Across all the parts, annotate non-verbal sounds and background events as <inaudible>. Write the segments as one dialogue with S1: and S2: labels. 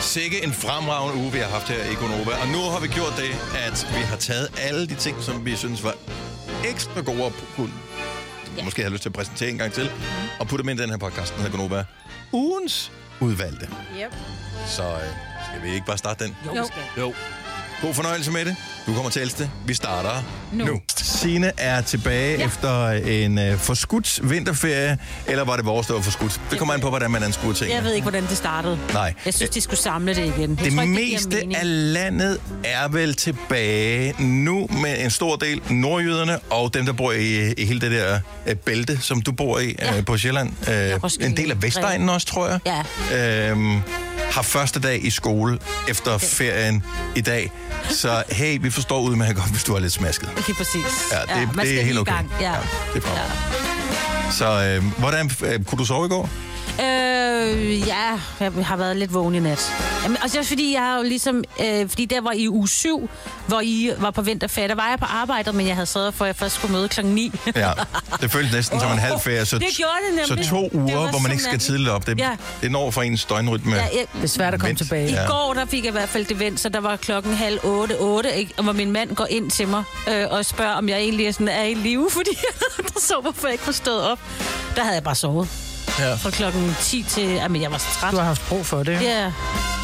S1: Sikke en fremragende uge, vi har haft her i Konoba. Og nu har vi gjort det, at vi har taget alle de ting, som vi synes var ekstra gode at kunne. Ja. Måske har lyst til at præsentere en gang til. Og putte dem ind i den her podcast, den hedder Konoba. Ugens udvalgte.
S2: Yep.
S1: Så øh, skal vi ikke bare starte den?
S2: Jo, vi skal.
S1: Jo. God fornøjelse med det. Du kommer til ældste. Vi starter nu. nu. Sine er tilbage ja. efter en øh, forskudt vinterferie. Eller var det vores, der var forskudt? Det kommer an på, hvordan man anskuer tingene.
S3: Jeg ved ikke, hvordan det startede.
S1: Nej.
S3: Jeg synes, de skulle samle det igen. Jeg
S1: Det tror,
S3: tror ikke, giver
S1: meste
S3: mening.
S1: det af landet er vel tilbage nu med en stor del nordjyderne og dem, der bor i, i hele det der øh, bælte, som du bor i ja. øh, på Sjælland. Øh, en del af Vestegnen også, tror jeg. Ja. Øhm, har første dag i skole efter ferien i dag. Så hey, vi forstår ud med godt, hvis du er lidt smasket.
S3: Lige præcis.
S1: Ja, det- det
S3: man
S1: er
S3: skal
S1: helt
S3: lige i
S1: okay.
S3: Gang. Ja.
S1: Det er ja. Så øh, hvordan øh, kunne du sove i går?
S3: Øh, ja, jeg har været lidt vågen i nat. Jamen, og så også fordi jeg har jo ligesom... Øh, fordi der var i uge 7, hvor I var på vinterferie, der var jeg på arbejdet, men jeg havde sørget for, at jeg først skulle møde klokken 9.
S1: Ja, det føles næsten som en halv ferie. Så,
S3: Det gjorde det nemlig.
S1: så to
S3: Det var
S1: uger, hvor man
S3: sådan,
S1: ikke skal
S3: at-
S1: tidligt op, det,
S3: Ja.
S1: ja. det når for ens døgnrytme.
S3: Ja, jeg-
S2: Det er svært at komme
S1: Vent.
S2: tilbage.
S3: <laughs> I
S1: Ja.
S3: går der fik jeg i hvert fald det vendt, så der var klokken halv otte, otte, ikke? Og hvor min mand går ind til mig øh, og spørger, om jeg egentlig er, sådan, er i live, <laughs> fordi der så, hvorfor jeg ikke var stået op. Der havde jeg bare sovet.
S1: Ja.
S3: Fra klokken 10 til... Jamen, jeg var så træt.
S2: Du har haft brug for det.
S3: Ja,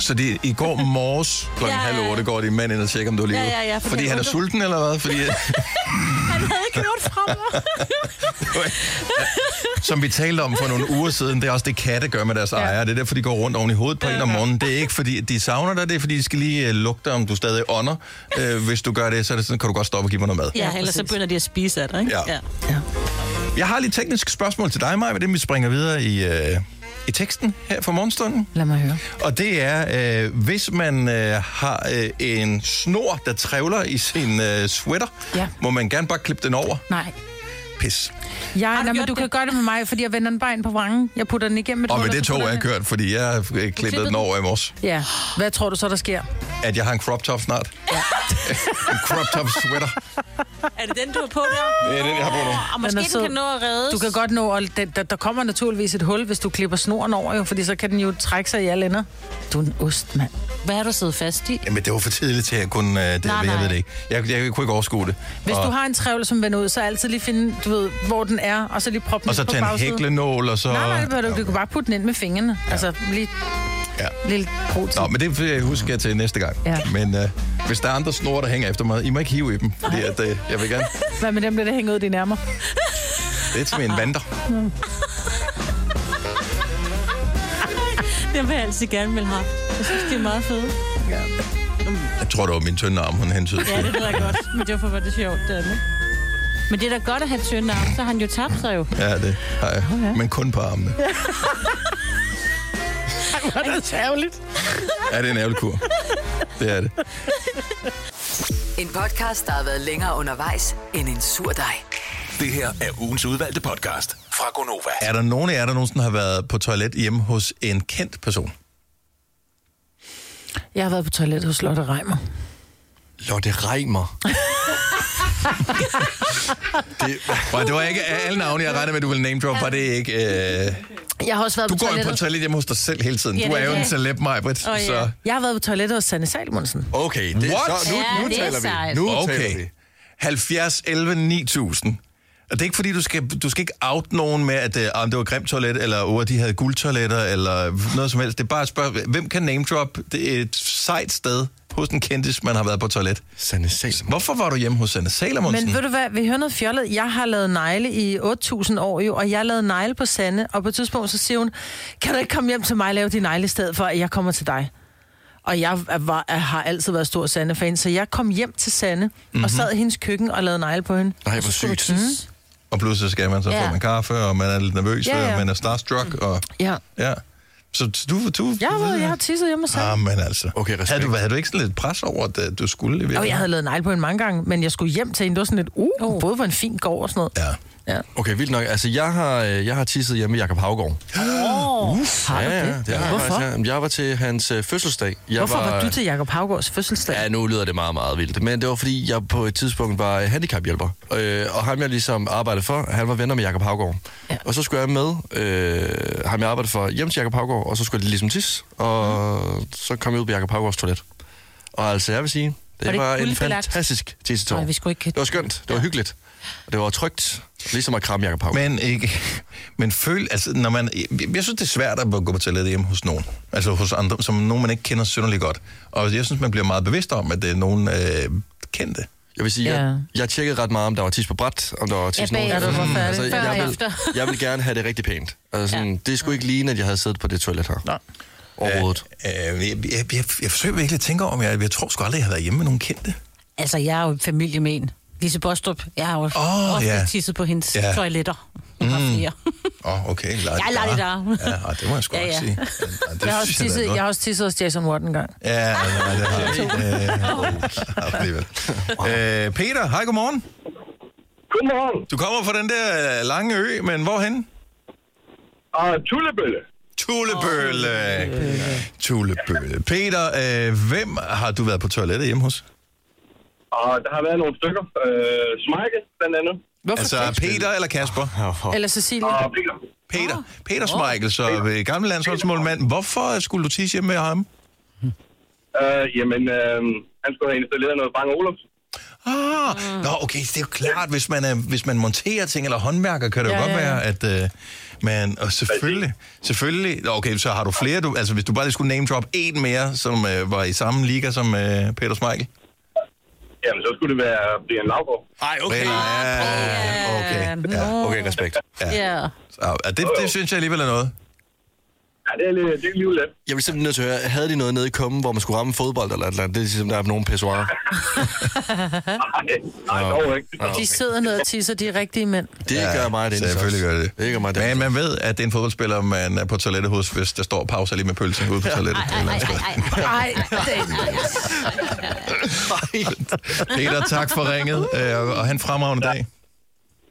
S1: Så de, i går morges kl.
S3: Ja, ja,
S1: halv
S3: ja.
S1: otte går din mand ind og tjekker, om du er livet.
S3: Ja, ja, ja,
S1: fordi
S3: fordi
S1: fordi
S3: han
S1: han er
S3: undrer-
S1: sulten eller hvad? Fordi,
S3: han havde ikke noget fra mig.
S1: som vi talte om for nogle uger siden, det er også det, katte gør med deres ja. ejere. Det er derfor, de går rundt oven i hovedet på en om morgenen. Det er ikke, fordi de savner dig, det er, fordi de skal lige øh, lugte, om du stadig ånder. Øh, hvis du gør det, så er det sådan, kan du godt stoppe og give mig noget mad.
S3: <laughs> Ja, ellers så begynder de at spise af dig, ikke?
S1: Ja.
S2: Ja.
S1: Jeg har lige et teknisk spørgsmål til dig, Maja, ved det, vi springer videre i, øh, i teksten her fra morgenstunden.
S2: Lad mig høre.
S1: Og det er, øh, hvis man øh, har øh, en snor, der trævler i sin øh, sweater,
S2: Ja.
S1: må man gerne bare klippe den over.
S2: Nej.
S1: Pis.
S2: Jeg,
S3: du
S2: nej, men
S3: gjort
S2: du kan
S3: det?
S2: gøre det med mig, fordi jeg vender den bare ind på vrangen. Jeg putter den igennem et
S1: Og
S2: hul,
S1: med det
S2: så
S1: tog
S2: putter
S1: er jeg
S2: den
S1: kørt, fordi jeg øh, klippede den
S3: den?
S1: over i morges.
S2: her. Ja. Hvad tror du så, der sker?
S1: At jeg har en crop top snart. Ja. <laughs> en crop top sweater.
S3: Er det den, du har på der?
S1: Det er den, jeg har på nu.
S3: Og måske
S2: Den er
S3: den,
S2: sød.
S3: kan nå at reddes.
S2: Du kan godt nå, og den, der, der kommer naturligvis et hul, hvis du klipper snoren over, jo, fordi så kan den jo trække sig i alle ender. Du er en ost, mand.
S3: Hvad har du siddet fast i?
S1: Jamen, det var for tidligt til, at jeg kunne... Øh, det,
S3: Nej,
S1: jeg
S3: nej.
S1: ved det ikke. Jeg, jeg, kunne ikke overskue det.
S2: Hvis
S1: og,
S2: du har en trævel, som vender ud, så altid lige finde, du ved, hvor den er, og så lige proppe den
S1: og så
S2: ind på
S1: tage en
S2: bagsiden.
S1: hæklenål, og så...
S2: Nej, nej, det behøver du ikke. Du kan bare putte den ind med fingrene. Ja. Altså, lige
S1: Ja.
S2: lille pro til.
S1: Nå, men det øh, husker jeg til næste gang.
S2: Ja.
S1: Men øh, hvis der er andre snore, der hænger efter mig, I må ikke hive i dem, fordi at, øh, jeg vil gerne...
S2: Hvad med dem, der hænger ud i nærmer?
S1: Det er til min vandrer.
S3: Den vil jeg altid gerne vil have. Jeg synes, det er meget fedt.
S1: Jeg tror, det var min tynde arm, hun hentede.
S3: Ja, det ved jeg godt. Men derfor var det sjovt, det andet. Men det er da godt at have tynde arme, så har han jo tabt sig jo.
S1: Ja, det har jeg. Men kun på
S2: <laughs>
S1: armene.
S2: Hvor er det særligt.
S1: Ja, det er en ærgerlig kur. Det er det.
S4: En podcast, der har været længere undervejs end en sur dej.
S5: Det her er ugens udvalgte podcast fra Gonova.
S1: Er der nogen af jer, der nogensinde har været på toilet hjemme hos en kendt person?
S2: Jeg har været på toilettet hos Lotte Reimer.
S6: Lotte
S1: <laughs>
S6: Reimer. det,
S1: Og det var ikke alle navne, jeg regner med, du vil name drop, var det ikke... Øh...
S2: Jeg har også været
S1: Du
S2: på
S1: går jo
S2: toilettet.
S1: på toilet hjemme hos dig selv hele tiden.
S3: Ja,
S1: Du
S3: det
S1: er jo
S3: er
S1: en
S3: det.
S1: celeb, Majbrit,
S3: Åh, ja.
S1: så...
S2: Jeg har været på toilettet hos Sanne Salmonsen.
S6: okay, det,
S1: What?
S6: så, nu,
S3: Ja,
S6: nu
S3: det er
S6: taler vi.
S3: sejt.
S6: Nu taler
S1: Okay.
S6: vi.
S1: 70, 11, 9000. Og det er ikke fordi, du skal, du skal ikke out nogen med, at øh, om det var grimt toilet, eller oh, de havde guldtoiletter, eller noget som helst. Det er bare at spørge, hvem kan name drop det er et sejt sted hos en kendis, man har været på toilet?
S6: Sanne Salm.
S1: Hvorfor var du hjemme hos Sanne Salomonsen?
S2: Men ved du hvad, vi hører noget fjollet. Jeg har lavet negle i 8.000 år jo, og jeg har lavet negle på Sande, og på et tidspunkt så siger hun, kan du ikke komme hjem til mig og lave de negle i stedet for, at jeg kommer til dig? Og jeg er- var, er, har altid været stor Sanne-fan, så jeg kom hjem til Sanne mm-hmm.
S6: Mhm.
S2: og sad i hendes køkken og lavede negle på hende.
S6: Nej, hvor sygt.
S1: Og pludselig skal man så
S2: Ja.
S1: få en kaffe, og man er lidt nervøs,
S2: Ja,
S1: ja,
S2: ja.
S1: ja. og man er starstruck, og
S2: Ja.
S1: ja. Så du... du
S2: Jeg har, været, jeg har tisset hjemme hos Sanne.
S1: Ah, men altså.
S6: Okay, respekt.
S1: havde, du, havde du ikke sådan lidt pres over, at øh, du skulle i
S2: Og jeg
S1: virkeligheden?
S2: havde lavet negle på hende mange gange, men jeg skulle hjem til hende. Det var sådan lidt, uh, oh. både var en fin gård og sådan noget.
S1: Ja.
S2: Ja.
S6: Okay, vildt nok. Altså, jeg har, øh, jeg har tisset hjemme med Jacob Havgård.
S3: Åh, Nå!
S2: Har du
S6: ja, ja,
S2: det?
S6: det har jeg
S2: Hvorfor?
S6: faktisk. Ja, men Jeg var til hans øh, fødselsdag. Jeg
S2: Hvorfor var du til Jacob Havgårds fødselsdag?
S6: Ja, nu lyder det meget, meget vildt. Men det var, fordi jeg på et tidspunkt var øh, handicaphjælper. Øh, og ham, jeg ligesom arbejdede for, han var venner med Jakob Havgård.
S2: Ja.
S6: Ja. Og så skulle jeg med øh, ham, jeg arbejdede for, hjem til Jakob Havgård, og så skulle jeg ligesom tisse. Og så kom jeg ud på Jakob Havgårds toilet. Og altså, jeg vil sige, det
S3: Var
S6: var,
S3: det
S6: det var en
S3: guldbelagt?
S6: fantastisk tissetår.
S3: Nej, vi skulle ikke-
S6: Det var skønt, det var hyggeligt. Og det var trygt, ligesom at kramme Jakob Havgård.
S1: Men, ikke, men føl, altså, når man, jeg, jeg synes, det er svært at gå på toilettet hjemme hos nogen. Altså hos andre, som nogen, man ikke kender synderligt godt. Og jeg synes, man bliver meget bevidst om, at det er nogen øh, kendte.
S6: Jeg vil sige,
S2: Ja.
S6: ja. jeg, jeg tjekkede ret meget, om der var tis på bræt, om der var tis
S3: Ja,
S6: nogen.
S3: bagefter.
S2: Ja, du var færdig.
S6: altså,
S3: Før og
S6: jeg, vil,
S3: efter.
S6: <laughs> jeg vil gerne have det rigtig pænt. Altså, sådan, ja. Det skulle ikke ligne, at jeg havde siddet på det toilet her. Nej. Overhovedet.
S1: Øh, jeg, jeg, jeg, jeg, forsøger virkelig at tænke om, jeg, jeg tror sgu aldrig, jeg har været hjemme med nogen kendte.
S3: Altså, jeg er jo familie med en. Lise Bostrup, jeg har jo oh, ofte
S1: ja.
S3: yeah. tisset på hendes
S1: Ja.
S3: yeah. toiletter. Mm. Jeg
S1: Åh, oh, okay. Lad
S3: er lidt der.
S1: Ja, ej, det må jeg sgu
S3: Ja,
S1: ja,
S3: ja.
S2: <laughs>
S1: ja. sige. Ja, nej, det
S2: Jeg har, også
S1: synes da
S2: tisset,
S1: er
S2: jeg
S1: noget.
S2: har også tisset hos Jason Watt en gang.
S1: Ja, nej, det har jeg. Øh, <laughs>
S2: <laughs>
S1: alligevel. Øh, Peter, hej, godmorgen.
S7: Godmorgen.
S1: Du kommer fra den der øh, lange ø, men hvorhen?
S7: Og Tullebølle.
S1: Tulebølle. Tulebølle. Peter, øh, hvem har du været på toilettet hjemme hos?
S7: Og der har været nogle stykker. Øh, Smeichel, blandt andet.
S2: Hvorfor
S1: Altså
S2: altså,
S1: Peter eller Kasper?
S2: Eller Cecilie?
S7: Og Peter.
S1: Peter. Peter Smeichel, så øh, gamle landsholdsmålmand. Hvorfor skulle du tisse hjemme med ham?
S7: Øh, jamen, øh, han skulle have installeret noget Bang Olufsen.
S1: Ah, nå, okay, det er jo klart, hvis man, er, hvis man monterer ting eller håndværker, kan det jo
S2: Ja,
S1: godt
S2: ja, ja.
S1: være, at øh, man... Og selvfølgelig, selvfølgelig... Nå, Okay, så har du flere... Du, altså, hvis du bare lige skulle name drop en mere, som øh, var i samme liga som øh, Peter Smeichel.
S7: Jamen, så skulle det være Brian Laugård.
S6: Ej,
S1: Vel, ja, okay. Ja,
S6: Okay, respekt.
S3: Ja.
S1: så, ja, det, det synes jeg alligevel er noget.
S7: Ja, det er lidt, det er lidt lidt.
S6: Jeg vil simpelthen nødt til at høre, havde de noget nede i kummen, hvor man skulle ramme fodbold eller et eller andet? Det er ligesom, der er nogle pissoirer.
S7: Nej, nej, dog ikke.
S2: De sidder ned og tisser, de rigtige mænd.
S6: Det ja, gør mig det.
S1: Selvfølgelig gør det.
S6: Det gør mig det.
S1: Men man ved, at det er en fodboldspiller, man er på toilettet hos, hvis der står pause lige med pølsen ude på toilettet. et eller andet sted.
S2: Ej,
S1: Peter, tak for ringet, øh, og han fremragende dag.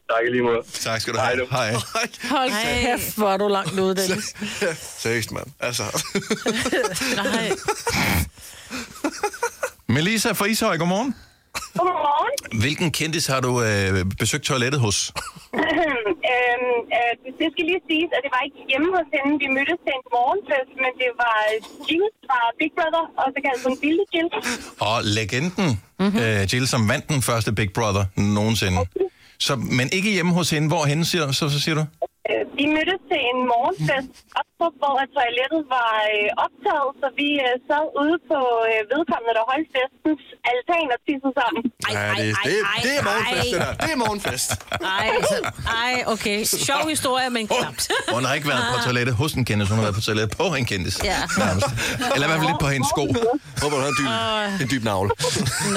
S7: Tak i lige måde.
S1: Tak skal du have. Hej.
S6: <laughs>
S2: hold kæft, hvor er du langt ude, Dennis.
S6: Seriøst, mand. <laughs> Altså.
S3: Nej.
S1: Melissa fra Ishøj, godmorgen.
S8: Godmorgen.
S1: Hvilken kendis har du øh, besøgt toilettet hos?
S8: øhm, øh, det skal lige siges, at det var ikke hjemme hos hende. Vi mødtes til en morgenfest, men det var Jill fra Big Brother, og så kaldte hun Billy Jill.
S1: Og legenden
S3: Mhm.
S1: mm-hmm. øh, Jill, som vandt den første Big Brother nogensinde. Så, men ikke hjemme hos hende. Hvor henne, siger, så, så siger du?
S8: Øh, vi mødtes til en morgenfest, op, hvor at toilettet var øh, optaget, så vi øh, sad ude på øh, vedkommende, der holdt festens altan og tissede sammen.
S3: Ej,
S6: Ja,
S3: ej,
S6: det,
S3: ej,
S6: det,
S3: ej,
S6: det er morgenfest, det
S3: ej.
S6: der. Det er morgenfest.
S3: Ej, ej, okay. Sjov historie, men knapt.
S1: Og hun har ikke været på toilettet hos en kendis, hun har været på toilettet på en kendis.
S3: Ah. Ja.
S1: Nærmest. Eller i hvert fald lidt på hendes sko.
S6: Håber, du har en dyb, en dyb navle.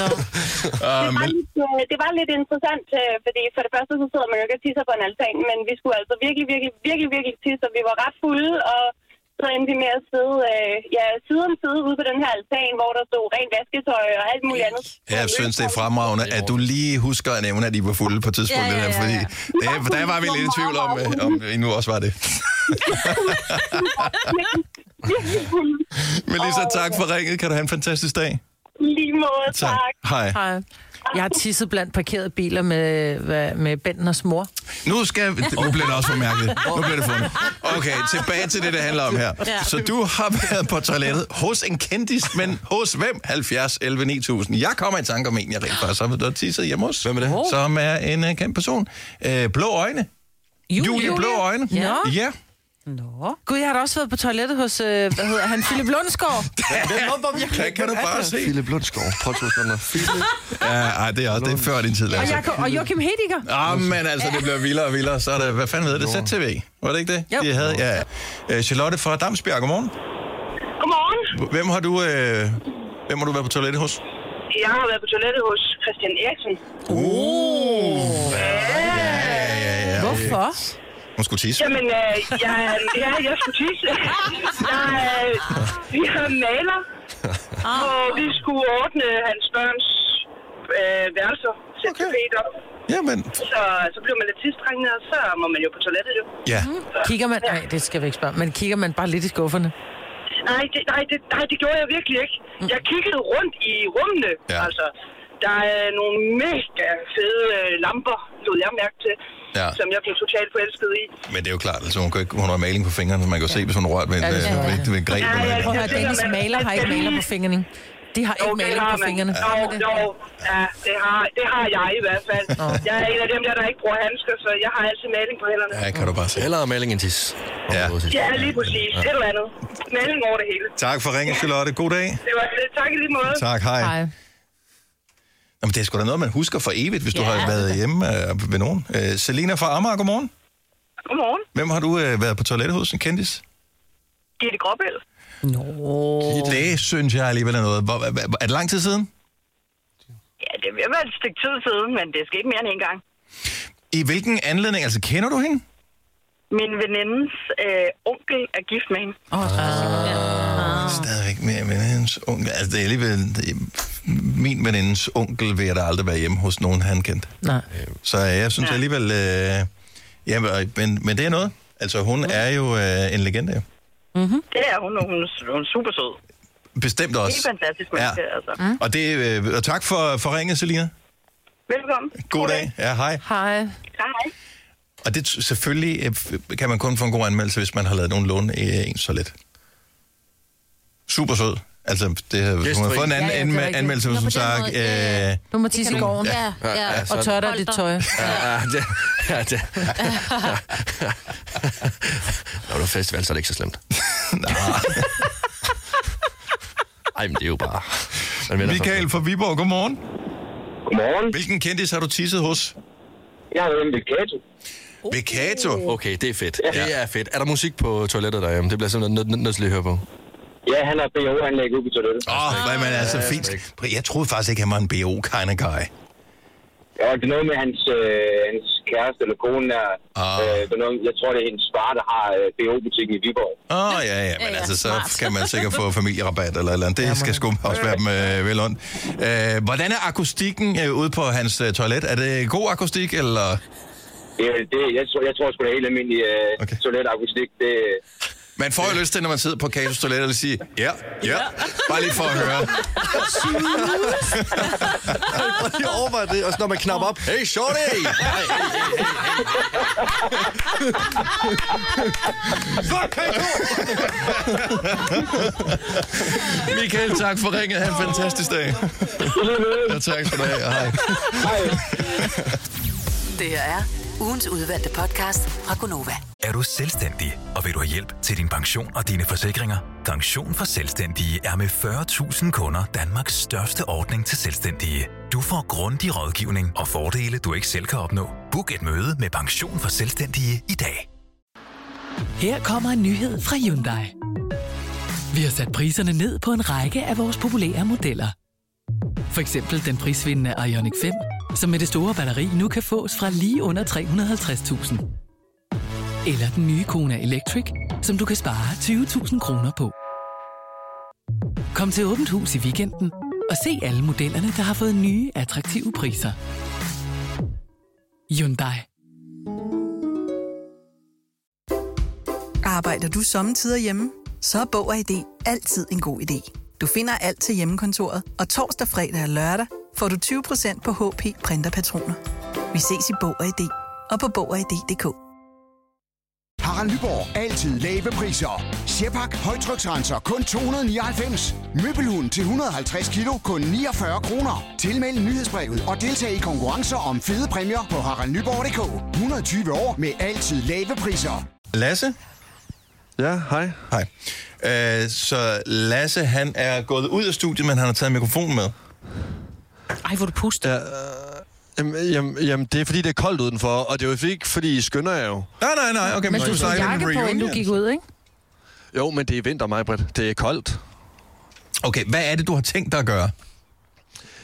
S3: Nå.
S8: Det var, lidt, øh, det var lidt interessant, øh, fordi for det første så sidder man jo ikke og tisser på en altan, men vi skulle altså virkelig, virkelig, virkelig, virkelig tisse, og vi var ret fulde, og så endte vi med at sidde øh, ja, side om side ude på den her altan, hvor der stod rent vasketøj og alt muligt andet.
S1: Jeg synes, det er fremragende, at du lige husker at nævne, at I var fulde på et tidspunkt.
S3: Ja, ja, ja, ja.
S1: Der, fordi det, der var vi lidt i tvivl om, øh, om I nu også var
S3: <laughs>
S1: det.
S8: Virkelig fulde.
S1: Melissa, tak for ringet. Kan du have en fantastisk dag.
S8: Lige måde, tak.
S1: Hej.
S2: Hej. Jeg har tisset blandt parkerede biler med, hvad- med Bentners mor.
S1: Nu, skal, nu bliver det også for mærkeligt. Nu bliver det fundet. Okay, tilbage til det, det handler om her. Så du har været på toilettet hos en kendis, men hos hvem? 70, 11, 9000. Jeg kommer i tanke om en, jeg rent faktisk har været tisset hjemme hos.
S6: Hvem er det?
S1: Som er en uh, kendt person. Uh, blå øjne. Julie, Julie Blå Øjne.
S2: Ja.
S1: Ja.
S3: Nå.
S2: Gud, jeg har da også været på toilettet hos, øh, hvad hedder han, Philip Lundsgaard.
S1: Det kan du bare se.
S6: Philip Lundsgaard. Prøv at Philip.
S1: Ja, ej, det er også det er før din tid,
S2: Og,
S1: Lasse.
S2: Jacob, og Joachim Hediger.
S1: Ah, men altså, det bliver vildere og vildere. Så er det, hvad fanden hedder det? ZTV. Var det ikke det?
S2: Jo.
S1: De havde, ja. Øh, Charlotte fra Damsbjerg, godmorgen.
S8: Godmorgen.
S1: Hvem har du, øh, hvem har du været på toilettet hos?
S8: Jeg har været på toilettet hos Christian Eriksen.
S1: Ja, ja, ja.
S2: Hvorfor?
S1: Hun skulle tisse.
S8: Jamen, øh, jeg, ja, jeg skulle tisse. Jeg, øh, vi har Ah. maler, og vi skulle ordne hans børns øh, værelser. sætte
S1: Okay.
S8: okay. caféet op.
S1: Jamen,
S8: Så, så blev man lidt tidstrængende, og så må man jo på toilettet jo.
S1: ja.
S2: Kigger man... Nej, det skal vi ikke spørge. om, Men kigger man bare lidt i skufferne?
S8: Nej, det, nej, det, nej, det gjorde jeg virkelig ikke. Jeg kiggede rundt i rummene,
S1: Ja.
S8: Mm. ja. altså. Der er nogle mega fede øh, lamper, lod jeg mærke til,
S1: Ja.
S8: ja. som jeg blev totalt forelsket i.
S1: Men det er jo klart, altså, hun, kan ikke, hun har maling på fingrene, så man kan jo se, hvis hun rørte ved,
S2: Ja, det
S1: ja,
S2: tror jeg.
S1: ved, ved, ved greb.
S8: Ja, ja,
S1: eller-
S2: Prøv at
S8: ja.
S2: høre,
S8: tænker,
S2: Dennis
S8: man-
S2: maler har ikke
S8: man-
S2: maler på fingrene. De har ikke
S8: Jo, det
S2: maler
S8: har
S2: på
S8: man.
S2: fingrene.
S8: Jo, jo, ja, det har, det har jeg i hvert fald. Jeg er en af dem der, der ikke bruger handsker, så jeg har altid maling på hænderne.
S1: Ja, kan du bare se.
S6: Eller maling en tis.
S1: Ja.
S8: Ja, lige præcis. Et eller andet. Maling over det hele.
S1: Tak for ringen, Charlotte. God dag.
S8: Det var det. Tak i lige måde.
S1: Tak, hej.
S2: Nej.
S1: Jamen, det er sgu da noget, man husker for evigt, hvis ja. du
S3: Ja.
S1: har været hjemme øh, ved nogen. Øh, Selina fra Amager, godmorgen.
S8: Godmorgen.
S1: Hvem har du øh, været på toilettet hos en kendis?
S8: Gitte Gråbæl.
S1: Oh. Det synes jeg alligevel er noget. Hvor, hva- hva- er det lang tid siden?
S8: Ja, det vil være et stykke tid siden, men det skete mere end en gang.
S1: I hvilken anledning? Altså, kender du hende?
S8: Min venindes øh, onkel er gift med hende.
S1: Stadigvæk med venindens onkel. Altså, det er alligevel... Det, min venindens onkel vil jeg da aldrig være hjemme hos nogen, han kendte.
S2: Nej.
S1: Så øh, jeg synes ja. alligevel... Øh, ja, men, men det er noget. Altså, hun er jo øh, en legende. jo.
S8: Det er hun, og hun, er- hun er super sød.
S1: Bestemt også.
S8: Helt fantastisk menneske, altså.
S1: Mm. Og, det, øh, og tak for, for ringet, Selina.
S8: Velkommen.
S1: God dag. Ja, hej.
S2: Hej.
S8: Hej.
S1: Og det t- selvfølgelig øh, f- kan man kun få en god anmeldelse, hvis man har lavet nogen låne øh, en så let. Super sød. Altså, det, har- hun har
S6: Gæstfri.
S1: fået en anden
S3: Ja, ja,
S1: ja,
S3: det er
S1: anme-
S3: rigtigt.
S1: anmeldelse,
S3: Nå,
S1: hvis
S3: på
S1: hun sagde,
S3: den måde, ja,
S1: øh,
S2: Du må tisse i gården.
S3: Ja, ja.
S6: ja,
S3: ja.
S6: så-
S2: Og tørre dig
S3: Hold
S2: dit
S3: da.
S2: tøj.
S6: Ja, det, ja, det. Når du er festival, så er det ikke så slemt. Nej. Ej, men det er jo bare... Man vender sig.
S1: Michael fra Viborg, godmorgen.
S7: Godmorgen.
S1: Hvilken kendis har du tisset hos?
S7: Jeg har været med Kato.
S1: Ved
S3: Uh.
S1: Kato.
S6: Okay, det er fedt. Det er fedt. Er der musik på toilettet derhjemme? Det bliver jeg simpelthen nødt nød, nød til lige at høre på.
S7: Ja, han har BO-anlæg ude på toilettet.
S1: Åh, oh, hvad man er så fint. Jeg troede faktisk ikke, han var en BO kind of guy.
S7: Ja, det er noget med hans, øh, hans kæreste eller kone der.
S1: Ah.
S7: Øh, det er noget, jeg tror, det er hendes far, der har øh, BO-butikken i Viborg.
S1: Åh, oh, ja, ja, men
S3: Ja, ja,
S1: altså, så
S3: smart.
S1: kan man sikkert få familierabat eller et eller andet. Det skal sgu også være dem øh, vel ondt. Øh, hvordan er akustikken øh, ude på hans øh, toilet? Er det god akustik, eller...
S7: Det, er- det, jeg, tror, jeg tror sgu, det er helt almindelig øh,
S1: Okay.
S7: okay. toiletakustik. Det,
S1: Man får jo lyst til, når man sidder på Katos toilet, at sige, ja, ja, bare lige for at høre.
S6: Og de overvejer det, og så når man knapper op. Hey, shorty!
S1: Michael, tak for ringet. Ha' en fantastisk dag. Ja, tak skal du have. og Hej.
S4: Det her er ugens udvalgte podcast fra Gonova.
S5: Er du selvstændig, og vil du have hjælp til din pension og dine forsikringer? Pension for Selvstændige er med 40.000 kunder Danmarks største ordning til selvstændige. Du får grundig rådgivning og fordele, du ikke selv kan opnå. Book et møde med Pension for Selvstændige i dag.
S9: Her kommer en nyhed fra Hyundai. Vi har sat priserne ned på en række af vores populære modeller. For eksempel den prisvindende Ioniq 5, som med det store batteri nu kan fås fra lige under 350.000. Eller den nye Kona Electric, som du kan spare 20.000 kroner på. Kom til Åbent Hus i weekenden og se alle modellerne, der har fået nye, attraktive priser. Hyundai.
S10: Arbejder du sommetider hjemme? Så er Bog og ID altid en god idé. Du finder alt til hjemmekontoret, og torsdag, fredag og lørdag får du 20% på HP Printerpatroner. Vi ses i Bog og ID og på Bog og ID.dk.
S11: Harald Nyborg. Altid lave priser. Sjehpak. Højtryksrenser. Kun 299. Møbelhund til 150 kilo. Kun 49 kroner. Tilmeld nyhedsbrevet og deltag i konkurrencer om fede præmier på haraldnyborg.dk. 120 år med altid lave priser.
S1: Lasse?
S6: Ja, hej.
S1: Hej. Øh, så Lasse, han er gået ud af studiet, men han har taget mikrofonen med.
S3: Ej, hvor du puster. Ja.
S6: Jamen, jamen, jamen, det er fordi, det er koldt udenfor, og det er jo ikke, fordi I skynder jer jo.
S1: Nej, nej, nej. Okay,
S2: Men du
S1: snakker
S2: tog
S1: lidt om
S2: jakke på, inden du
S1: reunions.
S2: gik ud, ikke?
S6: Jo, men det er vinter, mig, Britt. Det er koldt.
S1: Okay, hvad er det, du har tænkt dig at gøre?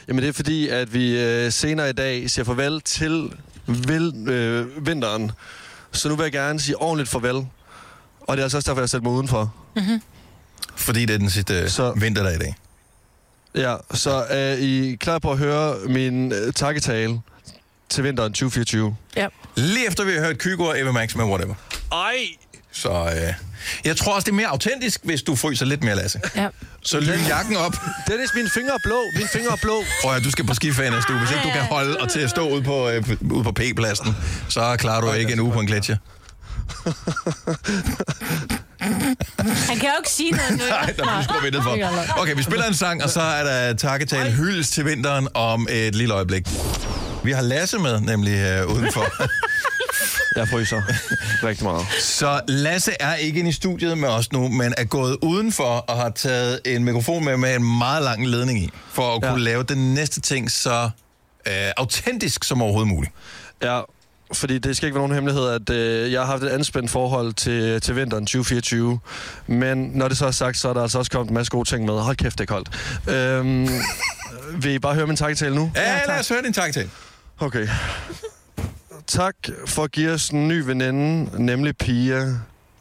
S6: Jamen det er fordi, at vi øh, senere i dag siger farvel til vel, øh, vinteren. Så nu vil jeg gerne sige ordentligt farvel. Og det er altså også derfor, jeg har sat mig udenfor.
S1: Fordi det er den sidste
S6: Så-
S1: så... vinterdag i dag.
S6: Ja, så er I klar på at høre min øh, takketale til vinteren 2024?
S2: Ja.
S1: Lige efter vi har hørt Kygo og Eva Max med Whatever.
S6: Ej!
S1: Så øh, jeg tror også, det er mere autentisk, hvis du fryser lidt mere, Lasse.
S2: Ja.
S1: Så lyn jakken op.
S6: Dennis, mine fingre er blå. Mine fingre er blå.
S1: Prøv at høre, du skal på skiferie næste uge. Hvis ikke du kan holde og til at stå ude på, øh, ude på P-pladsen, så klarer du ikke en uge på en gletsjer.
S3: Han kan jo ikke sige noget nu.
S1: Nej, der bliver sgu ventet for. Okay, vi spiller en sang, og så er der takketale hyldes til vinteren om et lille øjeblik. Vi har Lasse med, nemlig øh, udenfor.
S2: <laughs>
S6: Jeg fryser <laughs> rigtig meget.
S1: Så Lasse er ikke inde i studiet med os nu, men er gået udenfor og har taget en mikrofon med med en meget lang ledning i, for at kunne lave den næste ting så øh, autentisk som overhovedet muligt.
S6: Ja, fordi det skal ikke være nogen hemmelighed, at øh, jeg har haft et anspændt forhold til, til vinteren 2024. Men når det så er sagt, så er der altså også kommet en masse gode ting med. Hold kæft, det er koldt.
S1: <laughs>
S6: Øhm, vil I bare høre min takketale nu?
S1: Ja, ja lad os høre din takketale.
S6: Okay. Tak for at give os en ny veninde, nemlig Pia.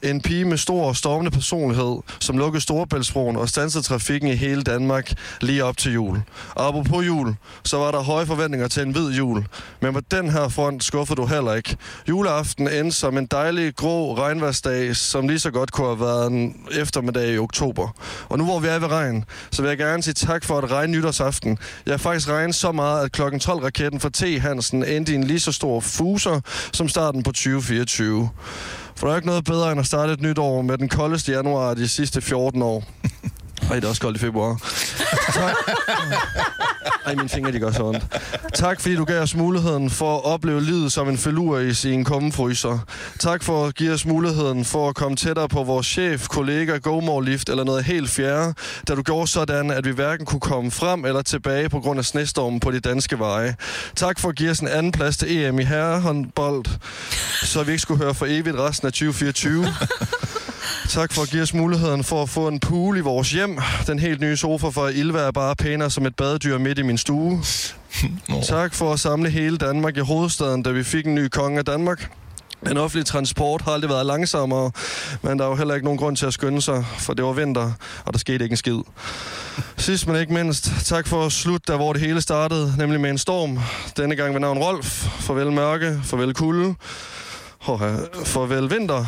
S6: En pige med stor og stormende personlighed, som lukkede Storebæltsbroen og stansede trafikken i hele Danmark lige op til jul. Og apropos jul, så var der høje forventninger til en hvid jul. Men på den her front skuffede du heller ikke. Juleaften endte som en dejlig, grå regnværsdag, som lige så godt kunne have været en eftermiddag i oktober. Og nu hvor vi er ved regn, så vil jeg gerne sige tak for at regne nytårsaften. Jeg har faktisk regnet så meget, at klokken 12-raketten fra T. Hansen endte i en lige så stor fuser som starten på 2024. For der er ikke noget bedre end at starte et nyt år med den koldeste januar de sidste 14 år. Ej, det er også koldt i februar. Tak. Ej, mine fingre, de gør så ondt. Tak, fordi du gav os muligheden for at opleve livet som en felur i sin kummefryser. Tak for at give os muligheden for at komme tættere på vores chef, kollega, GoMore-lift eller noget helt fjerde, da du gjorde sådan, at vi hverken kunne komme frem eller tilbage på grund af snestormen på de danske veje. Tak for at give os en anden plads til EM i herrehåndbold, så vi ikke skulle høre for evigt resten af 2024. Tak for at give os muligheden for at få en pool i vores hjem. Den helt nye sofa fra Ilva er bare pænere som et badedyr midt i min stue. Tak for at samle hele Danmark i hovedstaden, da vi fik en ny konge af Danmark. Den offentlige transport har aldrig været langsommere, men der er jo heller ikke nogen grund til at skynde sig, for det var vinter, og der skete ikke en skid. Sidst men ikke mindst, tak for at slutte der, hvor det hele startede, nemlig med en storm. Denne gang ved navn Rolf. Farvel mørke, farvel kulde, og øh, farvel vinter.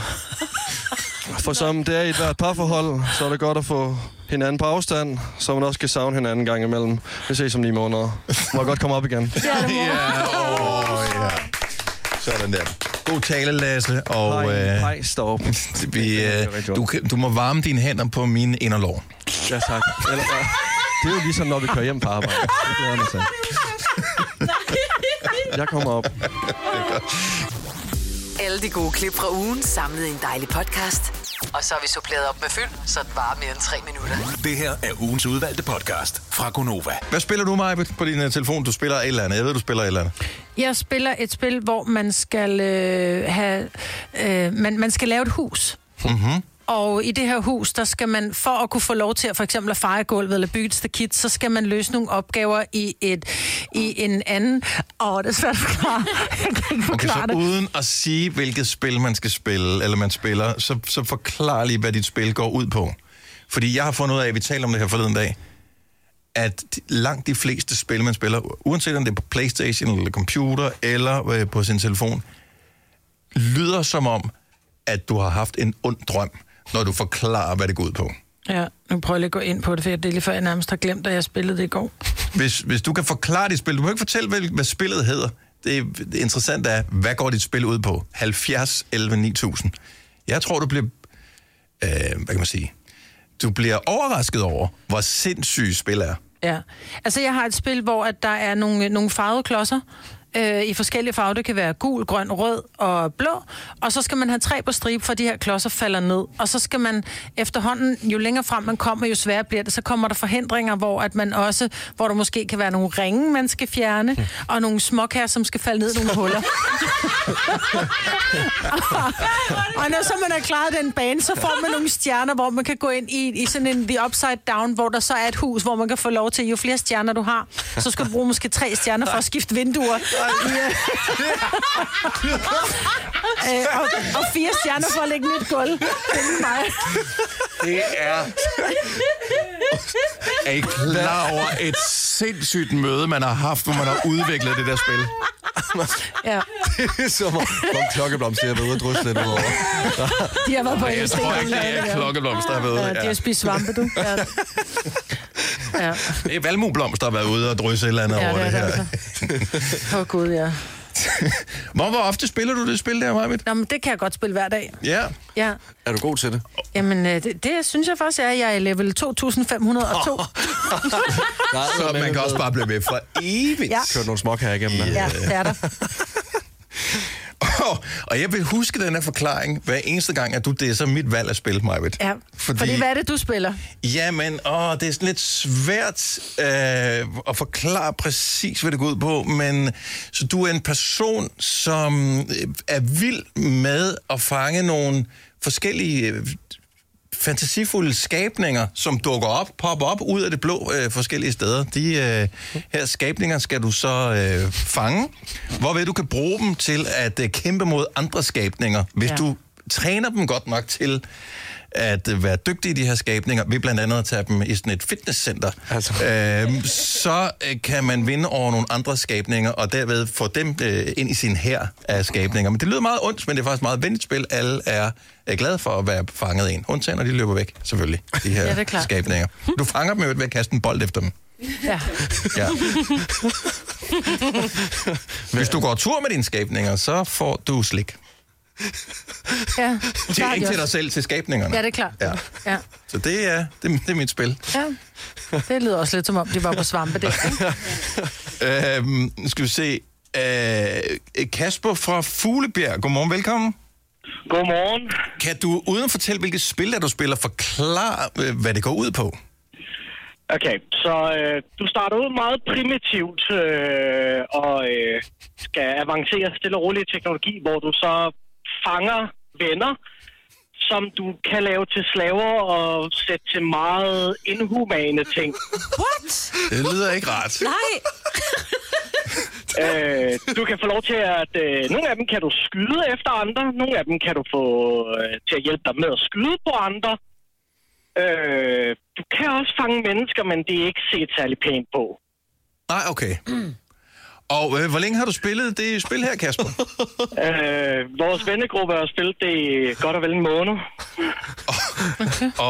S6: For som det er i et hvert parforhold, så er det godt at få hinanden på afstand, så man også kan savne hinanden en gang imellem. Vi ses om ni måneder. Må jeg godt komme op
S1: <laughs>
S6: igen.
S1: Ja, åh, ja. Sådan der. God tale, Lasse. Og,
S6: Hej,
S1: øh,
S6: hej, <laughs> stop.
S1: Vi, øh, du, kan- du må varme dine hænder på mine inderlår.
S6: Ja, tak. Eller, øh, det er jo ligesom, når vi kører hjem på arbejde. Det glæder jeg mig til. Jeg kommer <laughs> op.
S4: Alle de gode klip fra ugen samlet i en dejlig podcast. Og så har vi suppleret op med fyld, så det varer mere end tre minutter.
S5: Det her er ugens udvalgte podcast fra Gonova.
S1: Hvad spiller du, Maja, på din øh, telefon? Du spiller et eller andet. Jeg ved, du spiller et eller andet.
S2: Jeg spiller et spil, hvor man skal øh, have... Øh, man, man skal lave et hus.
S1: Mm-hmm.
S2: Og i det her hus, der skal man, for at kunne få lov til at for eksempel at feje gulvet eller bygge et stakit, så skal man løse nogle opgaver i, et, i en anden... Åh, det er svært at forklare. Jeg kan
S1: Okay,
S2: ikke forklare
S1: så
S2: det.
S1: uden at sige, hvilket spil man skal spille, eller man spiller, så, så forklar lige, hvad dit spil går ud på. Fordi jeg har fundet ud af, at vi talte om det her forleden dag, at de- langt de fleste spil, man spiller, uanset om det er på Playstation, eller computer, eller øh, på sin telefon, lyder som om, at du har haft en ond drøm, når du forklarer, hvad det går ud på.
S2: Ja, nu prøver jeg lige at gå ind på det, for jeg- det er lige før, jeg nærmest har glemt, at jeg spillede det i går.
S1: Hvis, hvis du kan forklare dit spil, du må ikke fortælle, hvad, hvad spillet hedder. Det, det interessante er, hvad går dit spil ud på? 70, 11, 9000. Jeg tror, du bliver, øh, hvad kan man sige, du bliver overrasket over, hvor sindssyge spil er.
S2: Ja. Altså, jeg har et spil, hvor at der er nogle, nogle farvede klodser øh, i forskellige farver. Det kan være gul, grøn, rød og blå. Og så skal man have tre på stribe, for de her klodser falder ned. Og så skal man efterhånden, jo længere frem man kommer, jo sværere bliver det. Så kommer der forhindringer, hvor, at man også, hvor der måske kan være nogle ringe, man skal fjerne, og nogle småkager, som skal falde ned i nogle huller. <laughs> og når så man har klaret den bane, så får man nogle stjerner, hvor man kan gå ind i, i sådan en The Upside Down, hvor der så er et hus, hvor man kan få lov til, jo flere stjerner du har, så skal du bruge måske tre stjerner for at skifte vinduer.
S1: <laughs>
S2: øh, og, og fire stjerner for at lægge nyt gulv. Det er mig.
S1: Det er... Er I klar over et sindssygt møde, man har haft, hvor man har udviklet det der
S2: Ah,
S1: spil?
S2: Ja.
S6: det er som om, om klokkeblomster har været ude og drysse lidt ud over.
S2: De har været på
S1: Ej, jeg
S2: LSD
S1: tror ikke,
S2: hele
S1: det er
S2: dagen.
S1: klokkeblomster, jeg ved.
S2: Ja, de
S1: Ja.
S2: har spist svampe, du.
S1: <laughs>
S2: Ja. Ja.
S1: Det er valmueblomster, der har været ude og drysse et eller andet
S2: Ja,
S1: over
S2: det
S1: det,
S2: er det altså.
S1: her.
S2: Åh, oh, Gud, ja.
S1: Hvor, hvor ofte spiller du det spil der, Marvitt?
S2: Nå, men det kan jeg godt spille hver dag.
S1: Ja.
S2: Ja.
S6: Er du god til det?
S2: Jamen, øh, det, det synes jeg faktisk, jeg er. Jeg er level 2502. Oh.
S1: Så man kan også bare blive ved for evigt.
S2: Ja.
S6: Kørt nogle smok her igennem.
S2: Ja, det er der.
S1: Og, og jeg vil huske den her forklaring hver eneste gang, at du disser mit valg af spil, Majbet.
S2: Ja. Fordi... Fordi hvad er det, du spiller?
S1: Jamen, åh, det er sådan lidt svært øh, at forklare præcis, hvad det går ud på, men så du er en person, som øh, er vild med at fange nogle forskellige øh, fantasifulde skabninger, som dukker op, popper op ud af det blå øh, forskellige steder. De øh, her skabninger skal du så øh, fange, hvorved du kan bruge dem til at øh, kæmpe mod andre skabninger, hvis
S12: Ja.
S1: ja. du træner dem godt nok til at øh, være dygtige i de her skabninger, ved blandt andet at tage dem i sådan et fitnesscenter, altså. øhm, så øh, kan man vinde over nogle andre skabninger, og derved få dem øh, ind i sin hær af skabninger. Men det lyder meget ondt, men det er faktisk meget venligt spil. Alle er, er glade for at være fanget af en. Undtagen, når de løber væk, selvfølgelig, de her
S2: Ja, det er
S1: ja,
S2: klart.
S1: skabninger. Du fanger dem jo ved at kaste en bold efter dem.
S2: Ja. <laughs>
S1: Ja. Hvis du går tur med dine skabninger, så får du slik.
S2: ja.
S1: Det er ikke til dig selv, til skabningerne.
S2: Ja, det er klart.
S1: Ja.
S2: Ja.
S1: Så det er, det, er- det er mit spil.
S2: ja. Det lyder også lidt som om, de var på svampe der. ikke?
S1: <laughs> Øhm, nu skal vi se. Øh, Kasper fra Fuglebjerg. Godmorgen, velkommen.
S8: Godmorgen.
S1: Kan du, uden at fortælle, hvilket spil der du spiller, forklare, øh, hvad det går ud på?
S8: Okay, så øh, du starter ud meget primitivt øh, og øh, skal avancere stille og roligt i teknologi, hvor du så fanger venner, som du kan lave til slaver og sætte til meget inhumane ting.
S3: What?
S1: Det lyder ikke rart.
S3: Nej.
S8: Øh, du kan få lov til at... Øh, nogle af dem kan du skyde efter andre, nogle af dem kan du få øh, til at hjælpe dig med at skyde på andre. Øh, du kan også fange mennesker, men det er ikke set særlig pænt på.
S1: Nej, okay. Og øh, hvor længe har du spillet det spil her,
S8: <laughs>
S1: Kasper?
S8: Øh, vores vennegruppe har spillet det i godt og vel en måned.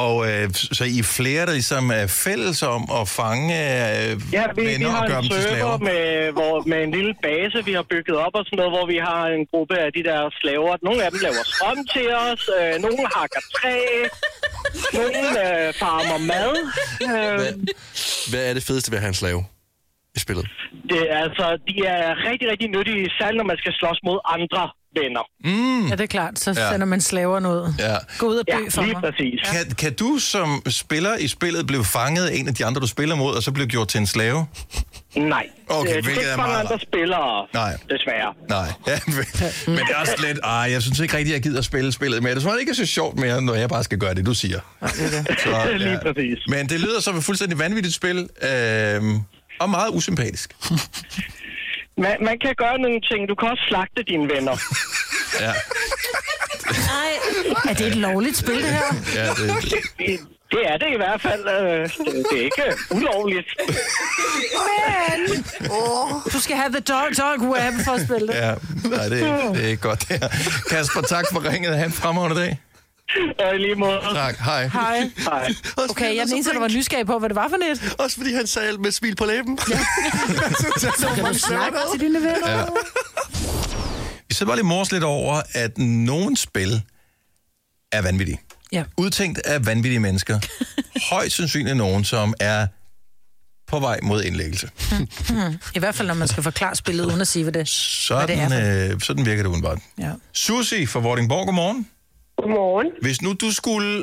S1: og øh, så I er flere, der ligesom er fælles om at fange øh,
S8: Ja, vi, vi
S1: venner
S8: har
S1: og gøre
S8: en
S1: dem til
S8: server
S1: slaver?
S8: med, hvor, med en lille base, vi har bygget op og sådan noget, hvor vi har en gruppe af de der slaver. Nogle af dem laver strøm til os, øh, nogle hakker træ, nogle øh, farmer mad. Øh,
S6: Hvad er det fedeste ved at have en slave i spillet?
S8: det, er altså, de er rigtig, rigtig nyttige, særligt når man skal slås mod andre venner.
S1: Mm.
S2: Ja, det er klart. Så
S1: Ja.
S2: sender man slaveren ud.
S1: Ja.
S2: Gå ud og dø for mig.
S1: Kan, kan du som spiller i spillet blive fanget af en af de andre, du spiller mod, og så blive gjort til en slave?
S8: Nej.
S1: Okay,
S8: Øh, du kan
S1: hvilket
S8: ikke
S1: er
S8: fange
S1: meget
S8: andre spillere,
S1: Nej.
S8: desværre.
S1: Nej, <laughs> ja, men, men det er også lidt, ej, jeg synes ikke rigtigt, jeg gider at spille spillet mere. Det er ikke så sjovt mere, når jeg bare skal gøre det, du siger. Så,
S8: <laughs> Lige præcis.
S1: Men det lyder som et fuldstændig vanvittigt spil, øh, og meget
S8: <laughs>
S1: usympatisk.
S8: Man, man kan gøre nogle ting. Du kan også slagte dine venner.
S1: Ja,
S3: Nej.
S2: Er det et lovligt spil, det
S1: <laughs>
S2: her?
S1: ja det,
S8: Det, det er det i hvert fald. øh, Det, det er ikke <laughs> ulovligt.
S2: Men! Oh, du skal have the dog, dog web for at spille det.
S1: ja nej, det, er- det er ikke godt det her. Kasper, tak for ringet. Ha' en fremragende dag.
S8: Ja, Øh, lige måde.
S1: Tak, hej.
S2: Hej.
S8: Hej.
S2: Okay, jeg er den eneste, der var nysgerrig på, hvad det var for net.
S6: Også fordi han sagde alt med et smil på læben. Ja.
S2: Så kan du snakke til dine venner.
S1: Ja. Vi sidder bare lige mors lidt over, at nogle spil er vanvittige.
S2: Ja.
S1: Udtænkt af vanvittige
S2: <laughs>
S1: mennesker. Højst sandsynligt nogen, som er på vej mod indlæggelse.
S2: Hmm. I hvert fald, når man skal forklare spillet, uden at sige, hvad det, hvad det er.
S1: Sådan,
S2: For.
S1: øh, sådan virker det udenbart.
S2: Ja.
S1: Susi fra Vordingborg, godmorgen.
S13: Godmorgen.
S1: Hvis nu du skulle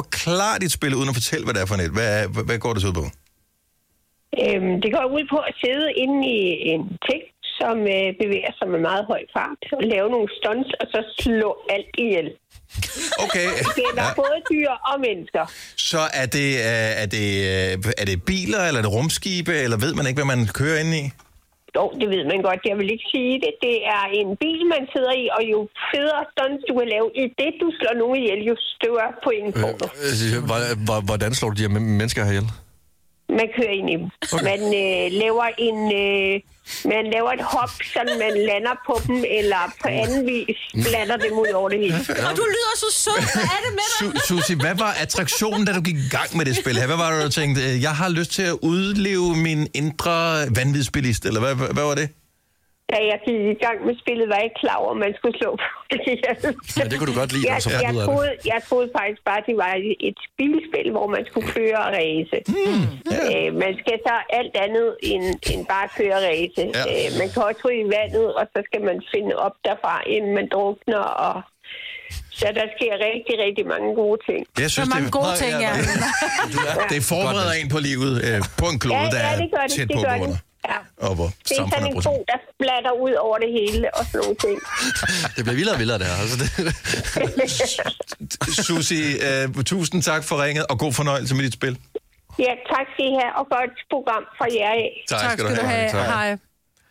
S1: forklare dit spil, uden at fortælle, hvad det er for net, hvad, hvad, hvad går det så ud på?
S13: Øhm, det går ud på at sidde inde i en ting, som øh, bevæger sig med meget høj fart, og lave nogle stunts, og så slå alt ihjel.
S1: Okay.
S13: Det gælder
S1: Ja.
S13: både dyr og mennesker.
S1: Så er det, øh, er, det, øh, er det biler, eller er det rumskibe, eller ved man ikke, hvad man kører ind i?
S8: Jo, det ved man godt. Jeg vil ikke sige det. Det er en bil, man sidder i, og jo federe stunts du kan lave i det, du slår nogen ihjel, jo større point får du.
S6: Øh, øh, hvor- hvor- Hvordan slår du de her men- mennesker herhjel?
S8: Man kører ind i dem. Okay. Man øh, laver en... Øh, man laver et hop, så man lander på dem, eller på anden vis blander dem ud over det hele.
S1: Og du
S14: lyder så sød. Hvad er det med
S1: Su- Susie, hvad var attraktionen, da du gik i gang med det spil her? Hvad var det, du tænkte, øh, jeg har lyst til at udleve min indre vanvidsbilist, eller hvad, hvad, hvad var det?
S8: Da jeg gik i gang med spillet, var jeg ikke klar over, at man skulle slå folk ihjel.
S1: Men det kunne du godt lide,
S8: jeg,
S1: og så fandt
S8: jeg,
S1: du ud af det.
S8: troede, jeg troede faktisk bare, at det var et bilspil, hvor man skulle køre og ræse.
S1: Hmm,
S8: Mm, yeah. øh, man skal så alt andet end, end bare køre og ræse.
S15: Ja.
S8: Yeah. Øh, man kan også ryge i vandet, og så skal man finde op derfra, inden man drukner. Og... Så der sker rigtig, rigtig mange gode ting.
S1: Jeg synes, Der er mange det- gode Nej, ting, ja, ja. Det forbereder en på livet, øh, på en klode,
S8: Ja,
S1: der
S8: ja,
S1: er
S8: det gør det.
S1: tæt
S8: Det
S1: på
S8: gør det.
S1: corona.
S8: Ja.
S1: Og hvor
S8: Det er sådan
S1: samfundet
S8: en
S1: er brugt.
S8: god, der splatter ud over det hele og sådan nogle
S1: <laughs>
S8: ting.
S6: Det bliver vildere og vildere, det her. Altså,
S8: <laughs>
S6: det...
S1: Susie, øh, tusind tak for ringet, og god fornøjelse med dit spil.
S8: Ja, tak skal I have, og godt program fra jer af.
S1: Tak Tak skal du skal du have. have. Tak. Hej.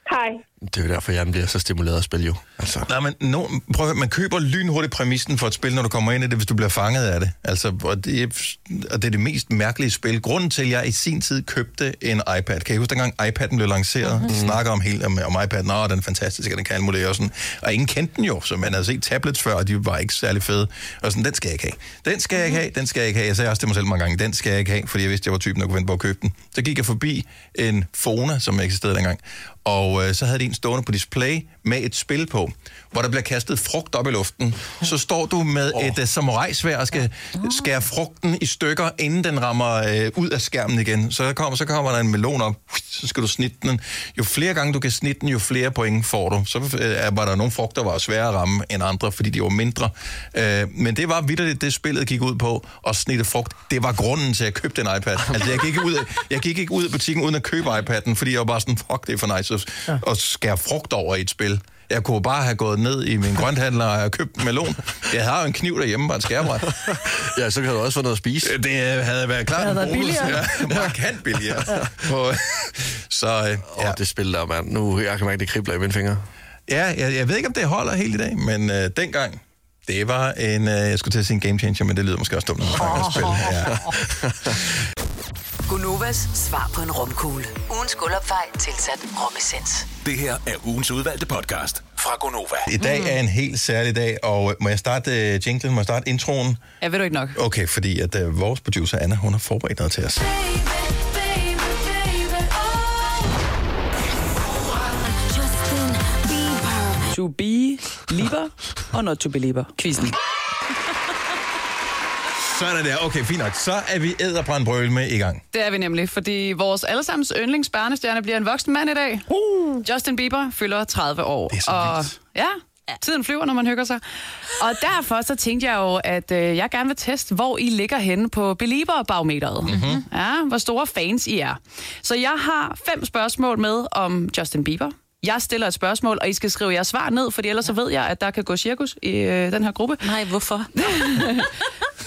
S8: Hej.
S6: Det er jo derfor, hjernen bliver så stimuleret af spil, jo. Altså.
S1: Nej, men no, prøv at høre, man køber lynhurtigt præmissen for et spil, når du kommer ind i det, hvis du bliver fanget af det. Altså, og, det er, og det er det mest mærkelige spil. Grunden til, at jeg i sin tid købte en iPad. Kan I huske, dengang iPad'en blev lanceret? Mm-hmm. Snakker om helt om, om iPad'en, og den er fantastisk, og den kan alt muligt, og sådan. Og ingen kendte den jo, så man havde set tablets før, og de var ikke særlig fede. Og sådan, den skal jeg ikke have. Den skal jeg ikke have, den skal jeg ikke have. Jeg sagde også til mig selv mange gange, den skal jeg ikke have, fordi jeg vidste, jeg var typen, der kunne vente på at købe den. Så gik jeg forbi en Fona, som eksisterede dengang, og øh, så havde de en stående på display med et spil på, hvor der bliver kastet frugt op i luften. Så står du med et uh, samurajsvær og skal skære frugten i stykker, inden den rammer øh, ud af skærmen igen. Så der kommer, så kommer der en melon op, så skal du snitte den. Jo flere gange du kan snitte den, jo flere point får du. Så øh, var der nogle frugter, der var svære at ramme end andre, fordi de var mindre. Øh, men det var vidderligt, det spillet gik ud på, at snitte frugt. Det var grunden til, at jeg købte en iPad. Altså, jeg gik ikke ud af, jeg gik ikke ud af butikken uden at købe iPad'en, fordi jeg var bare sådan, fuck, det er for nice at, ja. at skære frugt over i et spil. Jeg kunne bare have gået ned i min grønthandler og købt en melon. Jeg har jo en kniv derhjemme, bare et skærbræt.
S6: Ja, så kan du også få noget at spise.
S1: Det øh, havde været klart en
S6: Det havde været
S1: bonus.
S6: billigere.
S1: Ja, markant billigere. På, så, øh,
S6: ja. Oh, det spil der, mand. Nu jeg kan mærke, det kribler i mine fingre.
S1: Ja, jeg, jeg ved ikke, om det holder helt i dag, men øh, dengang, det var en, øh, jeg skulle til at sige en game changer, men det lyder måske også dumt, når man snakker om spil. Ja.
S4: Gunovas svar på en romkugle. Ugens guldopfej tilsat romessens.
S16: Det her er ugens udvalgte podcast fra Gonova.
S1: I dag er en helt særlig dag, og øh, må jeg starte øh, jinglen, må jeg starte introen?
S2: Ja, ved du ikke nok?
S1: Okay, fordi at øh, vores producer Anna, hun har forberedt noget til os.
S2: To be lieber og not to believer. Quizzen.
S1: Sådan der, okay, fint nok. Så er vi æderbrandbrøl med i gang.
S2: Det er vi nemlig, fordi vores allesammens yndlingsbarnestjerne bliver en voksen mand i dag. Uh. Justin Bieber fylder 30 år. Det er så og, Ja, tiden flyver, når man hygger sig. Og derfor så tænkte jeg jo, at øh, jeg gerne vil teste, hvor I ligger henne på Belieber-barometeret. Mm-hmm. Ja, hvor store fans I er. Så jeg har fem spørgsmål med om Justin Bieber. Jeg stiller et spørgsmål, og I skal skrive jeres svar ned, for ellers så ved jeg, at der kan gå cirkus i øh, den her gruppe. Nej, hvorfor?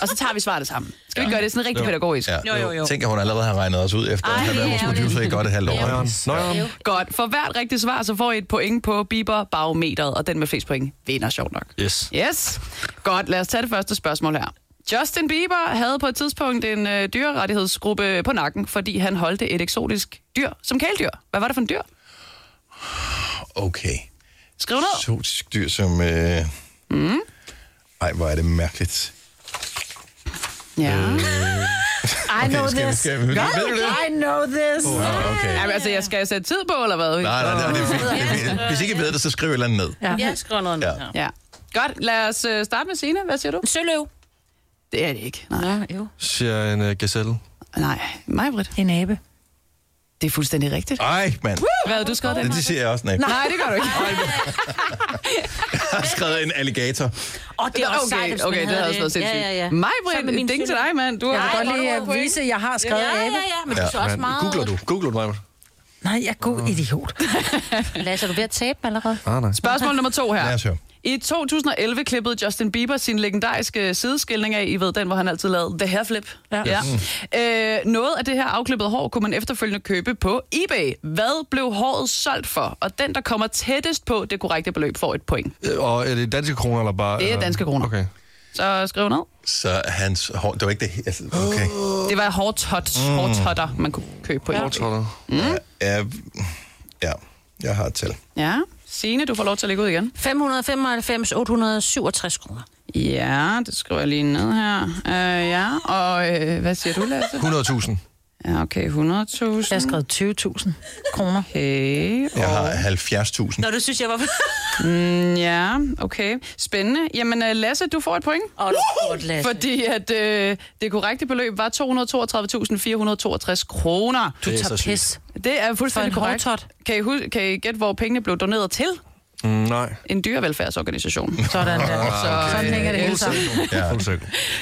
S2: og så tager vi svaret sammen. Skal vi ikke gøre det sådan rigtig pædagogisk?
S1: Ja. Jo, jo, jo. Tænk, at hun allerede har regnet os ud efter, at
S2: Ej,
S1: have været
S2: det
S1: vores
S2: er ærgerligt.
S1: producer i godt et halvt år.
S2: Ja.
S1: Nå, ja.
S2: Godt. For hvert rigtigt svar, så får I et point på Bieber barometeret, og den med flest point vinder sjovt nok.
S6: Yes.
S2: Yes. Godt, lad os tage det første spørgsmål her. Justin Bieber havde på et tidspunkt en øh, dyrerettighedsgruppe på nakken, fordi han holdt et eksotisk dyr som kæledyr. Hvad var det for en dyr?
S1: Okay.
S2: Skriv ned.
S1: Eksotisk dyr som... Øh...
S2: Mm.
S1: Ej, hvor er det mærkeligt.
S2: Ja.
S1: Øh...
S3: I know
S1: skal vi-
S3: this.
S1: skal vi- Ved du det?
S3: I know this.
S1: Oh, ja, okay.
S2: Jamen, altså, jeg skal sætte tid på, eller hvad?
S1: Nej, nej, nej, det er fint. Det er fint. Hvis I ikke ved det, så skriv et eller andet ned.
S2: Ja, ja skriv noget
S1: ned,
S2: Ja. ja. Godt, lad os øh, starte med Signe. Hvad siger du? Søløv. Det er det ikke. Nej. Ja, jo.
S6: Siger en uh, gazelle.
S2: Nej, Majbrit. En abe. Det er fuldstændig rigtigt.
S1: Ej, mand.
S2: Hvad havde du skrevet den?
S1: Det, det siger jeg også, nej.
S2: Nej, det gør du ikke.
S1: Jeg har skrevet en alligator.
S2: Og
S3: det er også sejt, hvis man
S2: okay, det
S3: havde
S2: havde også
S3: det.
S2: været sindssygt.
S3: Ja, ja, ja. Sammen med
S2: Majbrit,
S3: min
S2: et ding til
S3: søn.
S2: dig, mand. Du
S3: Jeg
S2: har
S3: vil godt lige, øh, vise, at jeg har skrevet abe.
S2: men du så også meget.
S6: Googler du? Googler du mig?
S2: Nej, jeg er god idiot.
S3: Lasse, er du ved at tabe allerede?
S6: Ah, nej.
S16: Spørgsmål nummer to her.
S1: Lad os høre.
S16: I 2011 klippede Justin Bieber sin legendariske sideskildring af, I ved den, hvor han altid lavede The Hair Flip. Ja. ja. Øh, noget af det her afklippede hår kunne man efterfølgende købe på eBay. Hvad blev håret solgt for? Og den, der kommer tættest på det korrekte beløb, får et point.
S6: Øh, Og er det danske kroner, eller bare...
S16: Det er danske kroner.
S6: Okay.
S16: Så skriv ned.
S1: Så hans hår, det var ikke det he- altså, Okay.
S16: Det var hårtot,
S1: Mm.
S16: mm. hårtotter, man kunne købe på eBay.
S1: Mm. Ja, ja, jeg har et tal.
S16: Ja. Signe, du får lov til at lægge ud igen.
S3: 595, 867 kroner.
S16: Ja, det skriver jeg lige ned her. Øh, ja, og øh, hvad siger du, Lasse?
S6: 100.000.
S16: Ja, okay, 100.000. Jeg har
S2: skrevet 20.000 kroner.
S16: Okay,
S1: Jeg
S16: og...
S1: har 70.000.
S3: Nå, du synes, jeg var...
S16: Mm, ja, okay. Spændende. Jamen, øh, Lasse, du får et point.
S3: Åh, du får et, Lasse.
S16: Fordi at, øh, det korrekte beløb var 232.462 kroner.
S3: Du Det er tager så sygt. pis.
S16: Det er fuldstændig
S3: For en
S16: korrekt. Kan I, hus- kan I gætte, hvor pengene blev doneret til?
S6: Mm, nej.
S16: En dyrevelfærdsorganisation.
S2: Sådan der.
S1: Ah,
S16: Så- Sådan hænger det hele sammen.
S1: Ja.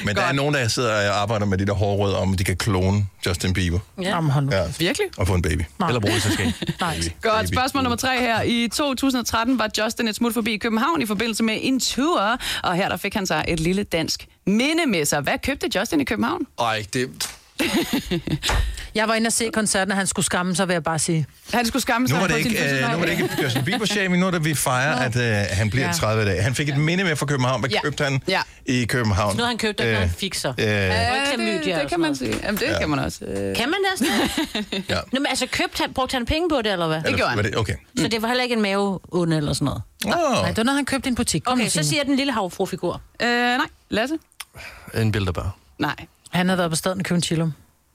S1: Men der er nogen, der sidder og arbejder med de der hårråd om, de kan klone Justin Bieber.
S16: Ja.
S2: Jamen, hold
S1: Ja.
S16: Virkelig?
S1: Og få en baby.
S2: Nej.
S1: Eller bruge det til skæg.
S2: Nej.
S16: Godt. Spørgsmål nummer tre her. I 2013 var Justin et smut forbi København i forbindelse med en tour, og her der fik han sig et lille dansk minde med sig. Hvad købte Justin i København?
S6: Ej, det...
S2: Jeg var inde og se koncerten, og han skulle skamme sig, vil jeg bare sige.
S16: Han skulle skamme
S1: Nu var det ikke, øh, nu var det ikke Justin Bieber shaming, nu er det, vi fejrer, at øh, han bliver
S2: Ja.
S1: 30 dage. Han fik et minde med fra København. Hvad
S16: Ja.
S1: købte han
S16: Ja. Øh,
S1: i København? Øh,
S3: Sådan noget, han købte, når han fik så. Ja,
S16: det, det kan man sige. Jamen, det
S1: Ja.
S16: ja. kan man også. Øh.
S3: Kan man det også?
S1: Ja.
S3: Nå, men altså, købte han, brugte han penge på det, eller hvad?
S1: Eller var det- okay.
S3: Så det var heller ikke en mave onde eller sådan noget?
S1: Oh.
S2: Nej, det var, når han købte en butik. Kom
S3: Okay,
S2: nu,
S3: så
S2: Signe.
S3: siger jeg den lille havfrufigur.
S16: Øh, nej. Lasse?
S6: En bilderbær.
S16: Nej.
S2: Han havde været på staden og købt en chillum.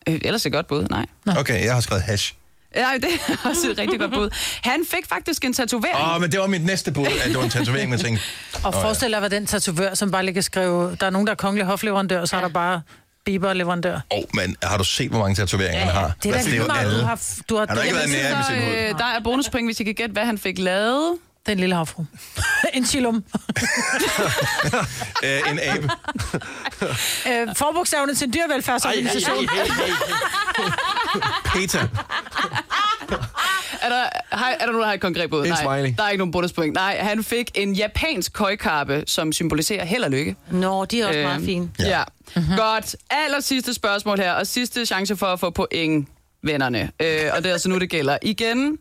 S16: Øh, ellers et godt bud, nej.
S1: Okay, jeg har skrevet hash.
S16: Ja, det er <laughs> også et rigtig godt bud. Han fik faktisk en tatovering.
S1: Åh, oh, men det var mit næste bud, at det var en tatovering, men jeg tænkte...
S2: Og
S1: "Nå ja."
S2: forestil dig, hvad den tatovør, som bare lige kan skrive, der er nogen, der er kongelig hofleverandør, og så er der bare Bieber-leverandør.
S1: Åh, oh, men har du set, hvor mange tatoveringer han har?
S2: Det er da
S1: Altså,
S2: lige
S1: jo
S2: meget,
S1: alle.
S2: du har... f- Du har,
S1: Han har ikke været nær med sit hud.
S16: Øh, der er bonuspring, hvis I kan gætte, hvad han fik lavet.
S2: Den lille havfru. <laughs> en chillum.
S1: Øh, en
S16: <laughs>
S1: abe.
S2: øh, forbogstaverne til en dyrevelfærdsorganisation.
S1: Peter.
S16: Er der, har, er der nogen, der har et konkret bud?
S6: En
S16: Nej,
S6: smiley.
S16: der er ikke nogen bonuspoint. Nej, han fik en japansk køjkappe, som symboliserer held og lykke.
S3: Nå, de er
S16: Øhm.
S3: også meget fine.
S16: Ja. ja. Mm-hmm. Godt. Aller sidste spørgsmål her, og sidste chance for at få point, vennerne. Øh, og det er altså nu, det gælder. Igen,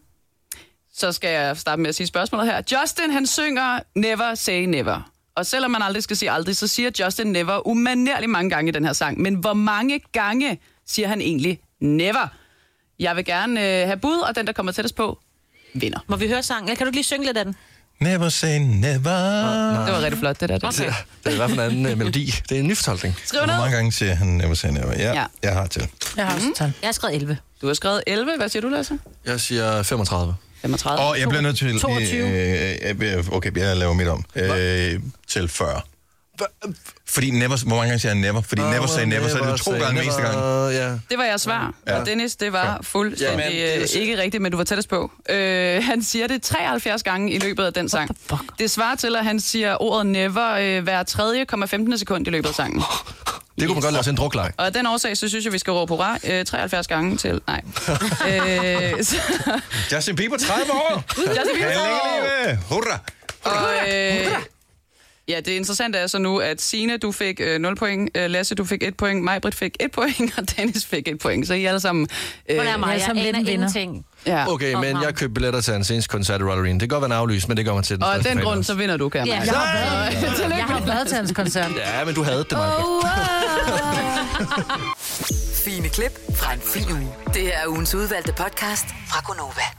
S16: så skal jeg starte med at sige spørgsmålet her. Justin, han synger Never Say Never. Og selvom man aldrig skal sige aldrig, så siger Justin Never umanerligt mange gange i den her sang. Men hvor mange gange <laughs> siger han egentlig Never? Jeg vil gerne øh, have bud, og den, der kommer tættest på, vinder.
S3: Må vi høre sangen? Eller Kan du ikke lige synge lidt af den?
S1: Never say never.
S16: Det var rigtig flot, det der. Det.
S3: Okay.
S6: Det er i hvert fald en anden øh, melodi. Det er en nyfortolkning.
S16: Skriv
S1: Hvor
S16: ned.
S1: mange gange siger han never say never? Ja, ja.
S16: Ja.
S1: jeg har til.
S2: Jeg har
S16: Mm.
S2: også tal.
S3: Jeg har skrevet 11.
S16: Du har skrevet 11. Hvad siger du, Lasse?
S6: Jeg siger 35.
S16: 35.
S1: Og jeg bliver nødt til...
S16: 22.
S1: Øh, jeg bliver- okay, jeg laver mit om. Øh, til 40. Fordi never, hvor mange gange siger han never? Fordi never say never, så er det jo to
S6: say
S1: gange den
S6: never,
S1: eneste gang.
S6: Ja.
S16: Det var jeres svar,
S1: Ja.
S16: ja. og Dennis, det var fuldstændig
S6: Jamen, det er
S16: ja,
S6: jo
S16: det
S6: så-
S16: ikke rigtigt, men du var tættest på. Øh, han siger det 73 gange i løbet af den sang. Det svarer til, at han siger ordet never øh, hver tredje, komma 15. sekund i løbet af sangen.
S6: Det kunne man godt lave til en drukleg.
S16: Og af den årsag, så synes jeg, vi skal råbe hurra øh, 73 gange til... Nej. øh, så,
S1: Justin Bieber, 30
S16: <laughs>
S1: år!
S16: Justin Bieber, 30 år!
S1: Halleluja! Hurra!
S16: og, øh, ja, det interessante er så nu, at Sine du fik øh, 0 point, øh, Lasse, du fik 1 point, Majbrit fik 1 point, og Dennis fik 1 point. Så I er alle sammen... Øh,
S3: Hvordan er mig?
S2: jeg er
S3: Jeg,
S2: som
S3: jeg
S2: lidt
S3: aner
S2: en vinder.
S3: ingenting.
S16: ja.
S6: Okay,
S3: Og
S6: men
S3: ham.
S6: jeg købte billetter til hans seneste koncert i Rollerine. Det kan godt være en aflys, men det gør man til den
S16: Og af
S6: største
S16: den
S6: fan
S16: grund,
S6: også.
S16: så vinder du, kan
S3: Ja.
S16: jeg
S2: Jeg
S16: mærke.
S2: har været,
S16: Så, øh, tillykke
S2: jeg har været til hans koncert.
S6: Ja, men du havde det, Maja.
S4: Fine klip fra en fin uge. Det her er ugens udvalgte podcast fra Gonova.